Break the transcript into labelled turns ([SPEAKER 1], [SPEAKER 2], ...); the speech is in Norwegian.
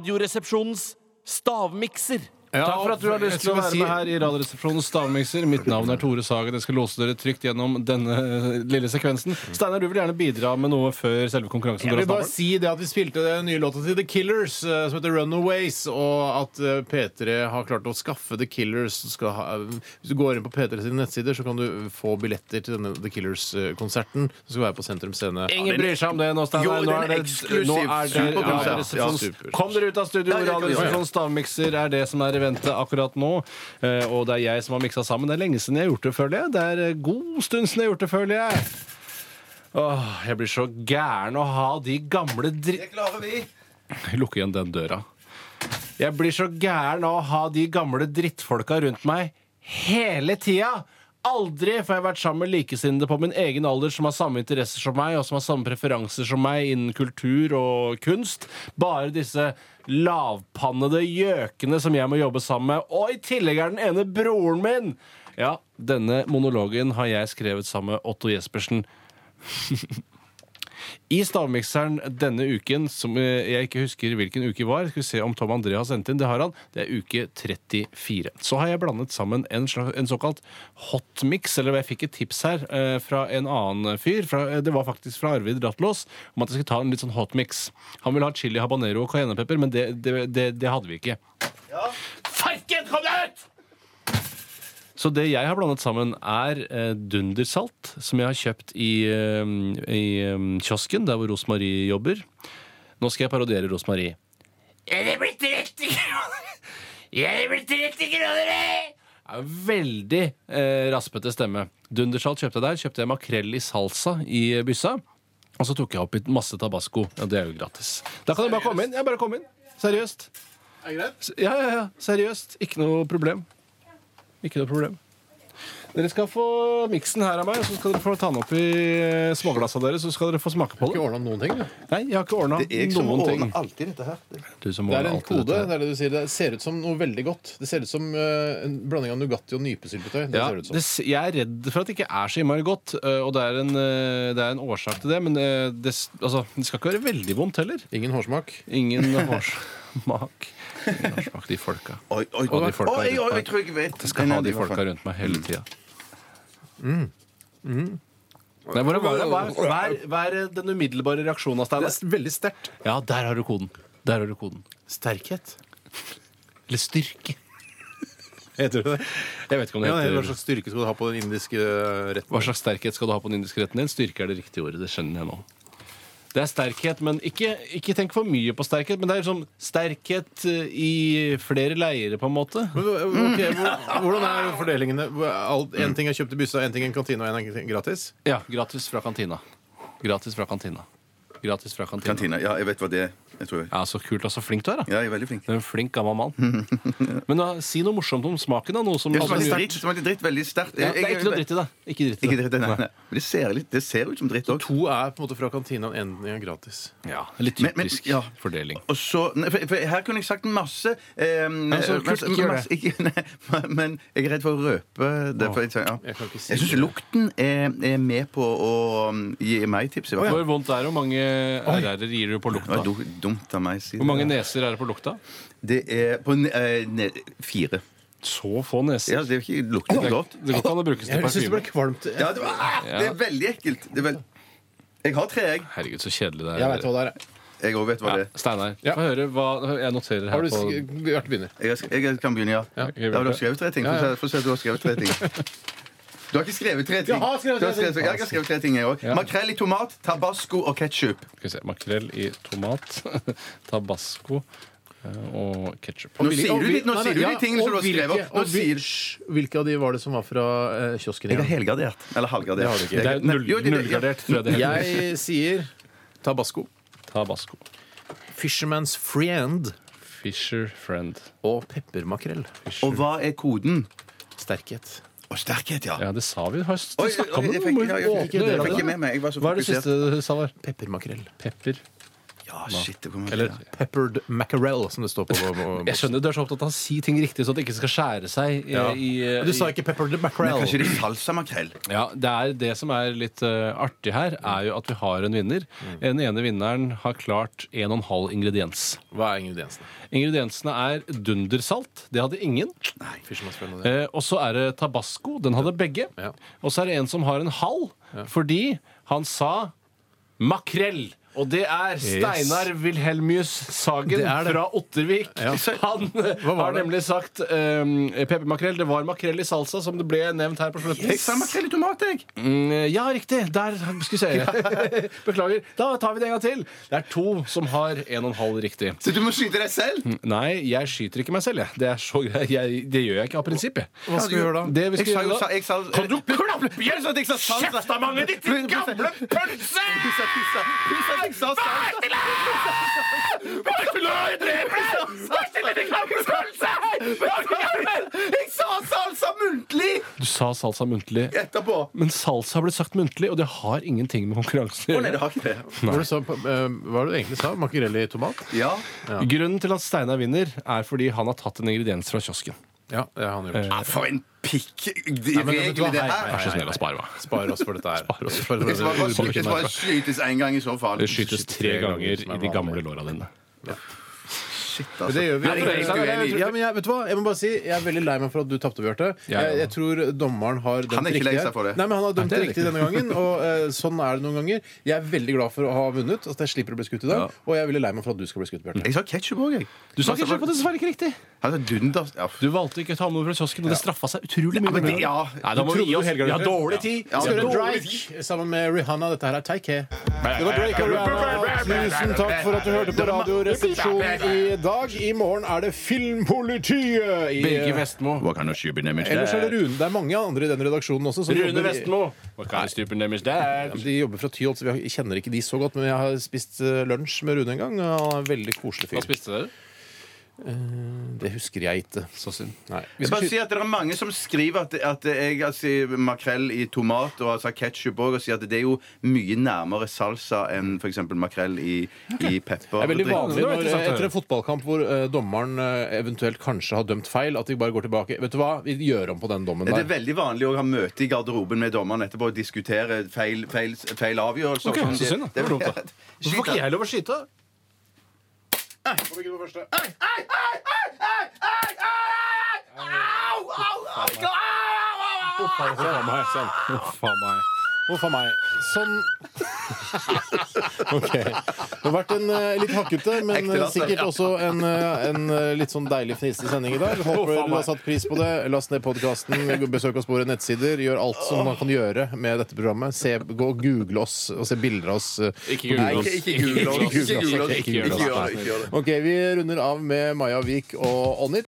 [SPEAKER 1] Radioresepsjonens stavmikser.
[SPEAKER 2] Takk for at du har lyst til å være med her i Radioresepsjonens stavmikser. Mitt navn er Tore Sagen. Jeg skal låse dere trygt gjennom denne eh, lille sekvensen. Steinar, du vil gjerne bidra med noe før selve konkurransen
[SPEAKER 3] Jeg vil
[SPEAKER 2] drar
[SPEAKER 3] bare
[SPEAKER 2] av stabelen?
[SPEAKER 3] si det at vi spilte den nye låta til The Killers, eh, som heter Runaways, og at eh, P3 har klart å skaffe The Killers. som Skal ha, hvis du går inn på P3 sine nettsider, så kan du få billetter til denne The Killers-konserten. Som skal være på Sentrum Scene.
[SPEAKER 2] Ingen bryr seg om det nå, Steinar.
[SPEAKER 4] Jo,
[SPEAKER 2] Nå
[SPEAKER 4] den
[SPEAKER 2] er det,
[SPEAKER 4] eksklusiv.
[SPEAKER 2] nå er det
[SPEAKER 4] Super-
[SPEAKER 2] Radioresepsjons-
[SPEAKER 3] Ja, super.
[SPEAKER 2] Kom dere ut av studio!
[SPEAKER 4] Ja, ja, ja, ja.
[SPEAKER 2] Radioresepsjonens stavmikser er det som er i vente akkurat nå. Eh, Og det er jeg som har miksa sammen. Det er lenge siden jeg har gjort det, føler jeg. Det er eh, god stund siden jeg har gjort det, føler jeg. Åh, jeg blir så gæren å ha de gamle dritt...
[SPEAKER 4] klarer vi.
[SPEAKER 2] Lukke igjen den døra. Jeg blir så gæren av å ha de gamle drittfolka rundt meg hele tida. Aldri får jeg vært sammen med likesinnede på min egen alder som har samme interesser som meg, og som har samme preferanser som meg innen kultur og kunst. Bare disse lavpannede gjøkene som jeg må jobbe sammen med. Og i tillegg er den ene broren min! Ja, denne monologen har jeg skrevet sammen med Otto Jespersen. I stavmikseren denne uken, som eh, jeg ikke husker hvilken uke var Skal vi se om Tom André har sendt inn. Det har han. Det er uke 34. Så har jeg blandet sammen en, slags, en såkalt hotmix, eller jeg fikk et tips her eh, fra en annen fyr. Fra, eh, det var faktisk fra Arvid Rattlås om at jeg skulle ta en litt sånn hotmix. Han ville ha chili habanero og cayennepepper, men det, det, det, det hadde vi ikke. Farken, kom deg ut! Så det jeg har blandet sammen, er eh, dundersalt, som jeg har kjøpt i, eh, i eh, kiosken, der hvor Rosmarie jobber. Nå skal jeg parodiere Rosmarie. Er det blitt 30 kroner? Er det blitt 30 kroner? eh? Det er en Veldig eh, raspete stemme. Dundersalt kjøpte jeg der. Kjøpte jeg makrell i salsa i eh, byssa. Og så tok jeg oppi masse tabasco. Ja, det er jo gratis. Da kan jeg bare komme inn. Jeg bare komme inn. Seriøst. Ja, ja, ja. Seriøst. Ikke noe problem. Ikke noe problem. Dere skal få miksen her av meg, så skal dere få ta den opp i eh, småglassa deres. Så skal dere få smake på
[SPEAKER 3] Ikke
[SPEAKER 2] det.
[SPEAKER 3] ordna noen ting, du.
[SPEAKER 2] Nei, jeg har ikke ordna
[SPEAKER 4] Det er jeg som
[SPEAKER 2] noen ting.
[SPEAKER 4] ordner alltid dette her. Det-
[SPEAKER 2] Du som
[SPEAKER 3] Det er
[SPEAKER 2] ordner
[SPEAKER 3] en
[SPEAKER 2] alltid dette
[SPEAKER 3] kode.
[SPEAKER 2] her.
[SPEAKER 3] det er det du sier. Det ser ut som noe veldig godt. Det ser ut som eh, en blanding av Nugatti og nypesyltetøy. Det
[SPEAKER 2] Ja,
[SPEAKER 3] ser det ut som.
[SPEAKER 2] det, s- jeg er redd for at det ikke er så innmari godt, eh, og det er, en, eh, det er en årsak til det. Men eh, det, s- altså, det skal ikke være veldig vondt heller.
[SPEAKER 3] Ingen hårsmak.
[SPEAKER 2] Ingen årsak. Ingen årsak, de folka.
[SPEAKER 4] Oi, oi,
[SPEAKER 2] Og de folka
[SPEAKER 4] Oi,
[SPEAKER 2] rundt
[SPEAKER 4] oi,
[SPEAKER 2] meg.
[SPEAKER 4] jeg tror jeg vet.
[SPEAKER 2] Jeg skal ha de folka rundt meg
[SPEAKER 3] Mm.
[SPEAKER 2] hele tida. Nei, hvordan var det? Mm. Hva er- Hva er- hva er den umiddelbare reaksjonen av Steinar?
[SPEAKER 3] veldig sterkt.
[SPEAKER 2] Ja, der har du koden. Der har du koden.
[SPEAKER 3] Sterkhet.
[SPEAKER 2] Eller styrke.
[SPEAKER 3] Heter det det?
[SPEAKER 2] Jeg vet ikke om det
[SPEAKER 3] Ja, nei, hva
[SPEAKER 2] heter
[SPEAKER 3] slags styrke skal du ha på den indiske eh, retten?
[SPEAKER 2] Hva slags sterkhet skal du ha på den indiske retten din? Styrke er det riktige ordet. Det skjønner jeg nå. Det er sterkhet, men ikke, ikke tenk for mye på sterkhet. Men det er liksom sterkhet eh, i flere leire, på en måte.
[SPEAKER 3] Men, ok, hvor- hvordan er fordelingene? Én ting er kjøpt i byssa, én ting er i kantina, og én er gratis?
[SPEAKER 2] Ja, gratis fra kantina. Gratis fra kantina. Gratis fra kantina.
[SPEAKER 4] Kantina. Ja, jeg vet hva det er. Jeg tror jeg.
[SPEAKER 2] Ja, Så kult og så flink du er, da.
[SPEAKER 4] Ja, jeg er veldig flink.
[SPEAKER 2] Du er en flink gammel mann. Men da, si noe morsomt om smaken, da. Noe som
[SPEAKER 4] Det
[SPEAKER 2] alle-
[SPEAKER 4] smakte dritt. smakte dritt veldig sterkt.
[SPEAKER 2] ja, Det er ikke noe dritt i det. Ikke dritt i
[SPEAKER 4] Ikke
[SPEAKER 2] det.
[SPEAKER 4] dritt, nei, nei. Men det ser, litt, det ser ut som dritt òg.
[SPEAKER 3] To er på en måte fra kantina, og én ting er gratis.
[SPEAKER 2] Ja, litt
[SPEAKER 4] Men- men-
[SPEAKER 2] typisk
[SPEAKER 4] ja.
[SPEAKER 2] fordeling.
[SPEAKER 4] Og så, nei, for, for her kunne jeg sagt masse eh,
[SPEAKER 2] så kult,
[SPEAKER 4] masse-
[SPEAKER 2] ikke gjør
[SPEAKER 4] masse- ikke- nei, Men jeg er redd for å røpe det. For jeg tenker, ja.
[SPEAKER 3] Jeg kan ikke si
[SPEAKER 4] jeg syns
[SPEAKER 3] det.
[SPEAKER 4] lukten er, er med på å um, gi meg tips, i hvert
[SPEAKER 2] Hvor
[SPEAKER 4] fall.
[SPEAKER 2] vondt er det? Hvor mange RR-er gir du på
[SPEAKER 4] Det
[SPEAKER 2] lukta?
[SPEAKER 4] var du- dumt av meg å si
[SPEAKER 2] Hvor mange
[SPEAKER 4] det.
[SPEAKER 2] neser er det på lukta?
[SPEAKER 4] Det er på ne, eh, ne, fire.
[SPEAKER 2] Så få neser.
[SPEAKER 4] Ja, det er ikke lukter ikke godt.
[SPEAKER 2] Det går ikke an å brukes til
[SPEAKER 3] Jeg syns det
[SPEAKER 2] parfyme.
[SPEAKER 3] ble kvalmt. Jeg
[SPEAKER 4] Ja, det, var, ah, det
[SPEAKER 2] Ja.
[SPEAKER 4] er veldig ekkelt. Det er vel, jeg har tre, jeg.
[SPEAKER 2] Herregud, så kjedelig det er.
[SPEAKER 3] vet hva det er.
[SPEAKER 4] Jeg òg vet hva det er.
[SPEAKER 2] Ja, Steinar,
[SPEAKER 3] Ja.
[SPEAKER 2] få høre hva Jeg noterer
[SPEAKER 3] Har
[SPEAKER 2] her
[SPEAKER 3] du
[SPEAKER 2] på
[SPEAKER 3] vært begynner?
[SPEAKER 4] Jeg, har sk- jeg kan begynne, ja.
[SPEAKER 2] Ja,
[SPEAKER 4] Da har du skrevet tre ting. Få se- Få se at du har skrevet tre ting. Du har ikke skrevet tre ting.
[SPEAKER 3] Jeg har skrevet
[SPEAKER 4] Du
[SPEAKER 3] tre ting.
[SPEAKER 4] ja, jeg har skrevet tre ting, jeg òg. Makrell i tomat, tabasco og ketsjup.
[SPEAKER 2] skal vi se, makrell i tomat, tabasco eh, og ketsjup.
[SPEAKER 4] Nå sier du, de- nå sier du de tingene som du har skrevet opp. Nå sier
[SPEAKER 3] Hvilke av de var det som var fra eh, kiosken?
[SPEAKER 4] Jeg er
[SPEAKER 3] igjen?
[SPEAKER 4] helgardert. Eller halvgardert.
[SPEAKER 3] Det har du ikke.
[SPEAKER 2] Det er
[SPEAKER 4] Nei,
[SPEAKER 2] null,
[SPEAKER 4] jo, det- det- ja.
[SPEAKER 2] nullgradert, tror jeg det heter.
[SPEAKER 3] Jeg sier Tabasco,
[SPEAKER 2] Tabasco.
[SPEAKER 3] Fisherman's Friend
[SPEAKER 2] Fisher friend.
[SPEAKER 3] og peppermakrell.
[SPEAKER 4] Og hva er koden?
[SPEAKER 3] Sterkhet.
[SPEAKER 4] Og sterkhet, ja.
[SPEAKER 2] Ja, det sa vi. Har
[SPEAKER 4] Oi,
[SPEAKER 2] snakka om
[SPEAKER 4] oi,
[SPEAKER 2] det.
[SPEAKER 4] jeg
[SPEAKER 2] Må
[SPEAKER 4] fikk-
[SPEAKER 2] jo
[SPEAKER 4] ja, jeg fikk-
[SPEAKER 2] åpne
[SPEAKER 4] jeg
[SPEAKER 2] øra
[SPEAKER 4] fikk ikke
[SPEAKER 2] dine.
[SPEAKER 4] med meg. Jeg var så
[SPEAKER 2] Hva er det
[SPEAKER 4] fokusert.
[SPEAKER 2] siste du sa var?
[SPEAKER 3] Peppermakrell.
[SPEAKER 2] Pepper.
[SPEAKER 4] Ja, Ah, shit, det kommer
[SPEAKER 3] Eller peppered mackerel, som det står på. på-
[SPEAKER 2] Jeg skjønner Du er så opptatt av å si ting riktig, så at det ikke skal skjære seg. eh,
[SPEAKER 3] Ja.
[SPEAKER 2] i, eh,
[SPEAKER 3] Men Du sa ikke peppered
[SPEAKER 4] Men
[SPEAKER 3] mackerel.
[SPEAKER 4] kanskje det er salsamakrell?
[SPEAKER 2] Ja, det, er det som er litt eh, artig her, er jo at vi har en vinner.
[SPEAKER 4] Mm.
[SPEAKER 2] Den ene vinneren har klart 1,5 ingrediens.
[SPEAKER 3] Hva er ingrediensene?
[SPEAKER 2] Ingrediensene er dundersalt. Det hadde ingen.
[SPEAKER 3] Fisherman's
[SPEAKER 2] Eh, og så er det tabasco. Den hadde begge.
[SPEAKER 3] Ja.
[SPEAKER 2] Og så er det en som har en halv, fordi han sa makrell. Og det er Steinar Wilhelmius Sagen
[SPEAKER 3] Det er det.
[SPEAKER 2] fra Ottervik. Han eh,
[SPEAKER 3] var
[SPEAKER 2] har
[SPEAKER 3] det?
[SPEAKER 2] nemlig sagt um, peppermakrell. Det var makrell i salsa, som det ble nevnt her på slutten.
[SPEAKER 4] Jeg sa makrell i tomat, jeg!
[SPEAKER 2] Mm, ja, riktig. Der skal vi se. Beklager. Da tar vi det en gang til. Det er to som har en og en halv riktig.
[SPEAKER 4] Så du må skyte deg selv!
[SPEAKER 2] Nei, jeg skyter ikke meg selv, jeg. Det, er så greit. jeg, det gjør jeg ikke av prinsipp, jeg.
[SPEAKER 3] Hva skal vi gjøre da?
[SPEAKER 2] Det vi skal
[SPEAKER 4] Jeg sa jo
[SPEAKER 2] gjøre
[SPEAKER 4] sa,
[SPEAKER 2] da
[SPEAKER 4] jeg sa,
[SPEAKER 2] Kan du klappe igjen
[SPEAKER 4] Jeg sa at jeg sa salsa!
[SPEAKER 2] kjeftamentet ditt, din gamle pølse!
[SPEAKER 4] Pissa, pissa, pissa, jeg sa salsa! Jeg sa salsa muntlig!
[SPEAKER 2] Du sa salsa muntlig.
[SPEAKER 4] Etterpå.
[SPEAKER 2] Men salsa har blitt sagt muntlig, og det har ingenting med konkurransen å
[SPEAKER 4] Å nei, Sånn det
[SPEAKER 2] gjøre.
[SPEAKER 4] har ikke det.
[SPEAKER 3] Hva var det du sa, eh, hva var det du egentlig sa? Makrell i tomat?
[SPEAKER 4] Ja.
[SPEAKER 2] Grunnen til at Steinar vinner, er fordi han har tatt en ingrediens fra kiosken.
[SPEAKER 3] Ja, det har han gjort.
[SPEAKER 4] Ja, For en pikk de
[SPEAKER 3] men vet du hva?
[SPEAKER 4] regel det
[SPEAKER 3] Hei, hei,
[SPEAKER 4] her!
[SPEAKER 2] Vær så snill å spare
[SPEAKER 4] Eh.
[SPEAKER 2] meg.
[SPEAKER 3] Spar oss for dette her. Spar oss for
[SPEAKER 4] Jeg skal bare-
[SPEAKER 3] dette.
[SPEAKER 4] jeg skal bare skytes én gang i så fall.
[SPEAKER 2] Det skytes tre ganger i de gamle låra dine.
[SPEAKER 4] Shit,
[SPEAKER 3] Men
[SPEAKER 4] altså.
[SPEAKER 3] Det gjør vi.
[SPEAKER 4] Nei, jeg er helt uenig.
[SPEAKER 3] Ja, men jeg, vet du hva? Jeg må bare si, jeg er veldig lei meg for at du tapte, Bjarte.
[SPEAKER 2] Ja, ja.
[SPEAKER 3] Jeg, jeg tror dommeren har dømt
[SPEAKER 4] Han er ikke
[SPEAKER 3] riktig.
[SPEAKER 4] lei
[SPEAKER 3] her.
[SPEAKER 4] seg for det.
[SPEAKER 3] Nei, men han har dømt
[SPEAKER 2] Nei, det er
[SPEAKER 3] riktig denne gangen, og eh, sånn er det noen ganger. Jeg er veldig glad for å ha vunnet, at jeg slipper å bli skutt i dag, og jeg er veldig lei meg for at du skal bli skutt, Bjarte.
[SPEAKER 4] Jeg sa ketsjup òg, jeg.
[SPEAKER 2] Du sa kanskje på det dessverre ikke riktig.
[SPEAKER 4] Han sa dunder... Ja.
[SPEAKER 2] Du valgte ikke å ta med noe fra kiosken, og det straffa seg utrolig mye.
[SPEAKER 4] men
[SPEAKER 2] dårligere.
[SPEAKER 4] det- ja.
[SPEAKER 2] Nei, da må vi gi oss. Vi har dårlig tid.
[SPEAKER 4] Ja,
[SPEAKER 3] Skal
[SPEAKER 4] det
[SPEAKER 3] gjøre
[SPEAKER 4] er dårlig.
[SPEAKER 3] Drake sammen med Rihanna. Dette her er Take Care. Det var Drake og Rihanna. Tusen takk for at du hørte på Radioresepsjonen i dag. I morgen er det Filmpolitiet. I,
[SPEAKER 2] Birger Vestmo.
[SPEAKER 4] Hva kan du skyve ned med
[SPEAKER 3] ellers er det Rune. Det er mange andre i den redaksjonen også. som
[SPEAKER 2] Rune
[SPEAKER 3] jobber i-
[SPEAKER 2] Vestmo. Hva kan stupen deres
[SPEAKER 3] Ja,
[SPEAKER 2] der?
[SPEAKER 3] men De jobber fra Tyholt, så vi kjenner ikke de så godt. Men jeg har spist eh, lunsj med Rune en gang. Og han er en veldig koselig
[SPEAKER 2] Hva
[SPEAKER 3] fyr.
[SPEAKER 2] spiste dere?
[SPEAKER 3] Det husker jeg ikke.
[SPEAKER 2] Så synd.
[SPEAKER 3] Nei. Vi
[SPEAKER 4] Jeg
[SPEAKER 3] skal
[SPEAKER 4] bare
[SPEAKER 3] skyte-
[SPEAKER 4] sier at Det er mange som skriver at, at jeg har sagt makrell i tomat og altså ketsjup òg, og sier at det er jo mye nærmere salsa enn f.eks. makrell i, i pepper.
[SPEAKER 3] det er veldig vanlig
[SPEAKER 2] Det
[SPEAKER 3] når,
[SPEAKER 2] var interessant å
[SPEAKER 3] etter
[SPEAKER 2] høre.
[SPEAKER 3] en fotballkamp hvor eh, dommeren eh, eventuelt kanskje har dømt feil, at de bare går tilbake. Vet du hva, vi gjør om på den dommen
[SPEAKER 4] Det er
[SPEAKER 3] der.
[SPEAKER 4] veldig vanlig å ha møte i garderoben med dommeren etterpå og diskutere feil, feil, feil avgjørelser.
[SPEAKER 2] Ok, så synd, da. Det var dumt, da. Hvorfor får ikke jeg lov å skyte? Huff a meg.
[SPEAKER 3] Huff a meg. Sånn. OK. Det har vært en eh, litt hakkete, men
[SPEAKER 4] Ekte
[SPEAKER 3] eh,
[SPEAKER 4] latter,
[SPEAKER 3] sikkert også en, eh, en eh, litt sånn deilig fniste sending i dag. Håper
[SPEAKER 2] faen
[SPEAKER 3] du
[SPEAKER 2] meg.
[SPEAKER 3] har satt pris på det. Last ned podkasten, besøk oss på våre nettsider. Gjør alt som man kan gjøre med dette programmet. Se, gå og google oss og se bilder av oss. eh,
[SPEAKER 2] Ikke
[SPEAKER 3] på
[SPEAKER 2] google
[SPEAKER 3] Google.
[SPEAKER 2] oss.
[SPEAKER 4] Ikke google oss. Ikke google oss.
[SPEAKER 3] Ikke
[SPEAKER 4] Ikke
[SPEAKER 3] google oss.
[SPEAKER 4] gjør det. Ikke gjør det.
[SPEAKER 3] OK, vi runder av med Maja Vik og Onnit.